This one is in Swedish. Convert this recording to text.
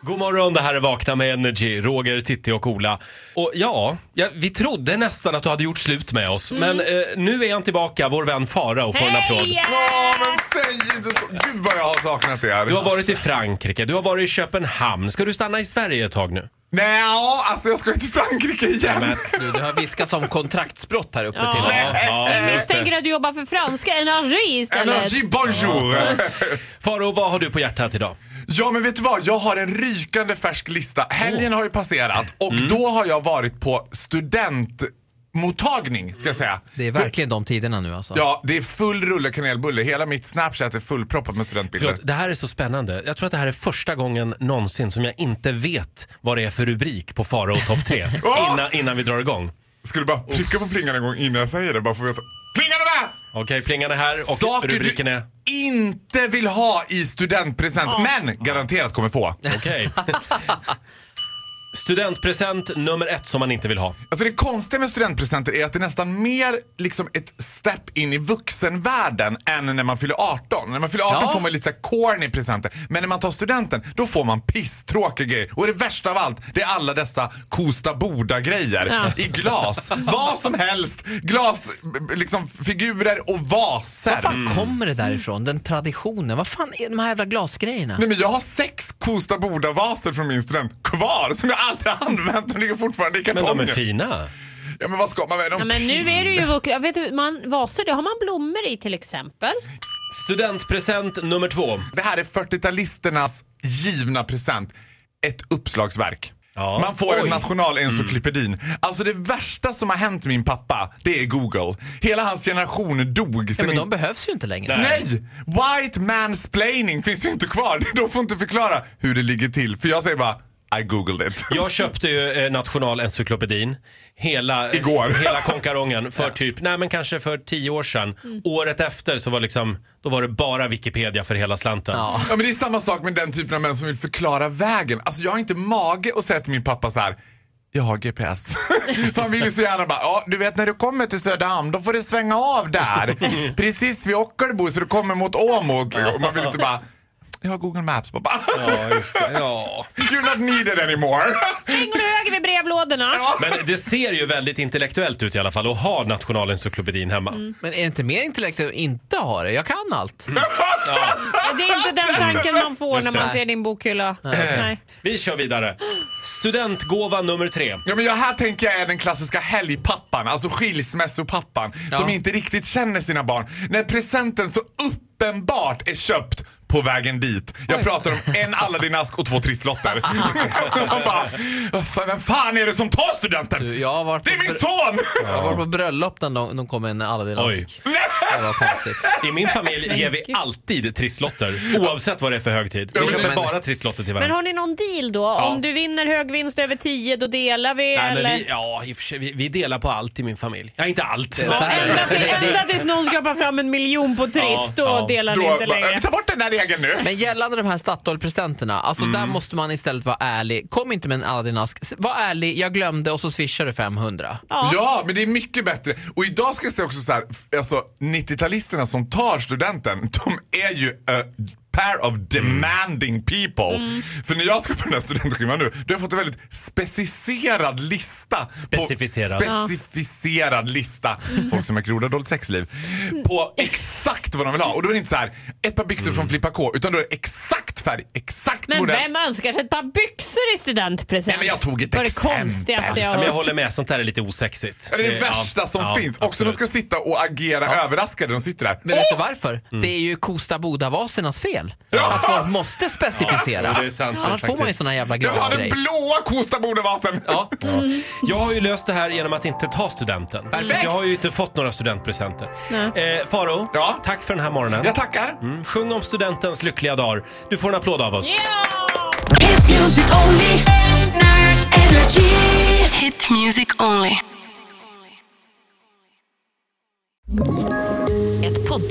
God morgon, det här är Vakna med Energy, Roger, Titti och Ola. Och ja, ja, vi trodde nästan att du hade gjort slut med oss, Mm. men eh, nu är han tillbaka, vår vän Farao får en applåd. Ja, men säg inte så. Gud vad jag har saknat er. Du har varit i Frankrike, du har varit i Köpenhamn. Ska du stanna i Sverige ett tag nu? Nej, ja, alltså jag ska ju till Frankrike igen. Men, Du, det har viskats om kontraktsbrott här uppe Ja. till Eh, ja, ja, Jag just det. tänker att du jobbar för franska Energy istället. Energy bonjour! Farao, vad har du på hjärtat idag? Ja men vet du vad, jag har en rykande färsk lista. Oh. Helgen har ju passerat och Mm. då har jag varit på studentmottagning ska jag säga. Det är verkligen de tiderna nu alltså. Ja, det är full rulle kanelbulle. Hela mitt Snapchat är fullproppat med studentbilder. Förlåt, det här är så spännande. Jag tror att det här är första gången någonsin som jag inte vet vad det är för rubrik på Farao topp 3 innan, innan vi drar igång. Ska du bara trycka på plingan en gång innan jag säger det? Bara för att veta. Plingan är med! Okej, plingan är här och Saker rubriken är... du inte vill ha i studentpresent, men garanterat kommer få. Okej. Studentpresent nummer ett som man inte vill ha. Alltså det konstiga med studentpresenter är att det är nästan mer liksom ett step in i vuxenvärlden än när man fyller 18. När man fyller 18 Ja. får man lite så här corny presenter. Men när man tar studenten, då får man pisstråkiga grejer. Och det värsta av allt, det är alla dessa Kosta Boda-grejer. I glas. Vad som helst. Glas, liksom figurer och vaser. Mm. Var fan kommer det därifrån? Den traditionen? Vad fan är de här jävla glasgrejerna? Nej men jag har sex Kosta Boda-vaser från min student kvar som jag aldrig har använt. De ligger fortfarande i Men kartongen. de är fina. Ja men vad ska man med dem Ja, men nu är du ju vuxen. Jag vet, du, man, vaser, det har man blommor i till exempel. Studentpresent nummer två. Det här är 40-talisternas givna present. Ett uppslagsverk. Ja. Man får en Mm. nationalencyklopedin. Alltså det värsta som har hänt min pappa, det är Google. Hela hans generation dog. Ja, sen men in- de behövs ju inte längre. Nej! White mansplaining finns ju inte kvar. De får inte förklara hur det ligger till. För jag säger bara, I googled it. Jag köpte ju eh, Nationalencyklopedin. Hela, eh, Igår. hela konkarongen för typ, nej men kanske för tio år sedan. Året efter så var liksom, då var det bara Wikipedia för hela slanten. Ja. Ja, men det är samma sak med den typen av män som vill förklara vägen. Alltså jag har inte mage att säga till min pappa så här. Jag har GPS. För han vill ju så gärna bara, ja du vet när du kommer till Söderhamn då får du svänga av där. Precis vid Ockelbo så du kommer mot Åmo. Och man vill inte bara, jag har Google Maps pappa. Ja, just det. Ja. You're not needed anymore. Hänger du höger vid brevlådorna? Men det ser ju väldigt intellektuellt ut i alla fall att ha Nationalencyklopedin hemma. Men är det inte mer intellektuellt att inte ha det? Jag kan allt. Mm. Det är inte den tanken man får Just när man det. ser din bokhylla. Nej. Vi kör vidare. Studentgåva nummer tre. Ja men jag, här tänker jag är den klassiska helgpappan, alltså skilsmässopappan som inte riktigt känner sina barn. När presenten så uppenbart är köpt på vägen dit. Jag pratar om en Aladdin-ask och två trisslotter. Man bara, "Vad fan- vem fan är det som tar studenten? Du, Jag har varit Det är på, min br- son! jag har varit på bröllop när de, de kom med en Aladdin-ask. Det var konstigt. I min familj ger vi alltid trisslotter, oavsett vad det är för högtid. Vi men- köper men- bara trisslotter till Men varandra. har ni någon deal då? Om du vinner hög vinst över 10 då delar vi Nej, eller? men vi, ja, i och för sig, vi, vi delar på allt i min familj. Ja, inte allt. Det är men- så här. Ända, till, ända tills någon skrapar fram en miljon på Triss, Ja, då ja. delar ni Då, inte bara, längre. ta bort den där regeln nu. Men gällande de här Statoil-presenterna, alltså Mm. där måste man istället vara ärlig. Kom inte med en Aladdin-ask. S- Var ärlig, jag glömde och så swishar du 500. Ja, men det är mycket bättre. Och idag ska jag säga också så här, f- alltså 90-talisterna som tar studenten, de är ju a pair of demanding people. Mm. För när jag ska på den här studentskivan nu, då har jag fått en väldigt specificerad lista. Specificerad. På, specificerad lista. Folk som har groda dåligt sexliv. Mm. På exakt vad de vill ha. Och då är det inte så här, ett par Mm. byxor från Flippa K, utan då är det exakt färg, exakt Men modell. vem önskar sig ett par byxor i studentpresent? Nej, men jag tog ett Det var det exempel. konstigaste jag Ja, men jag hört. håller med, sånt där är lite osexigt. Det är det Eh, värsta ja, som ja, finns. Också de absolut. ska sitta och agera överraskade. De sitter där. Men vet du varför? Mm. Det är ju Kosta Boda-vasernas fel. Att folk måste specificera. Ja, det är sant, Annars får man ju faktiskt. såna jävla Jag vill ha den glasgrejer. blåa Kostabodevasen! Ja. Jag har ju löst det här genom att inte ta studenten. Perfekt. Jag har ju inte fått några studentpresenter. Eh, Faro, Ja? tack för den här morgonen. Jag tackar. Mm, Sjung om studentens lyckliga dagar. Du får en applåd av oss. Ja! Hit music only. Energy. Hit music only. Ett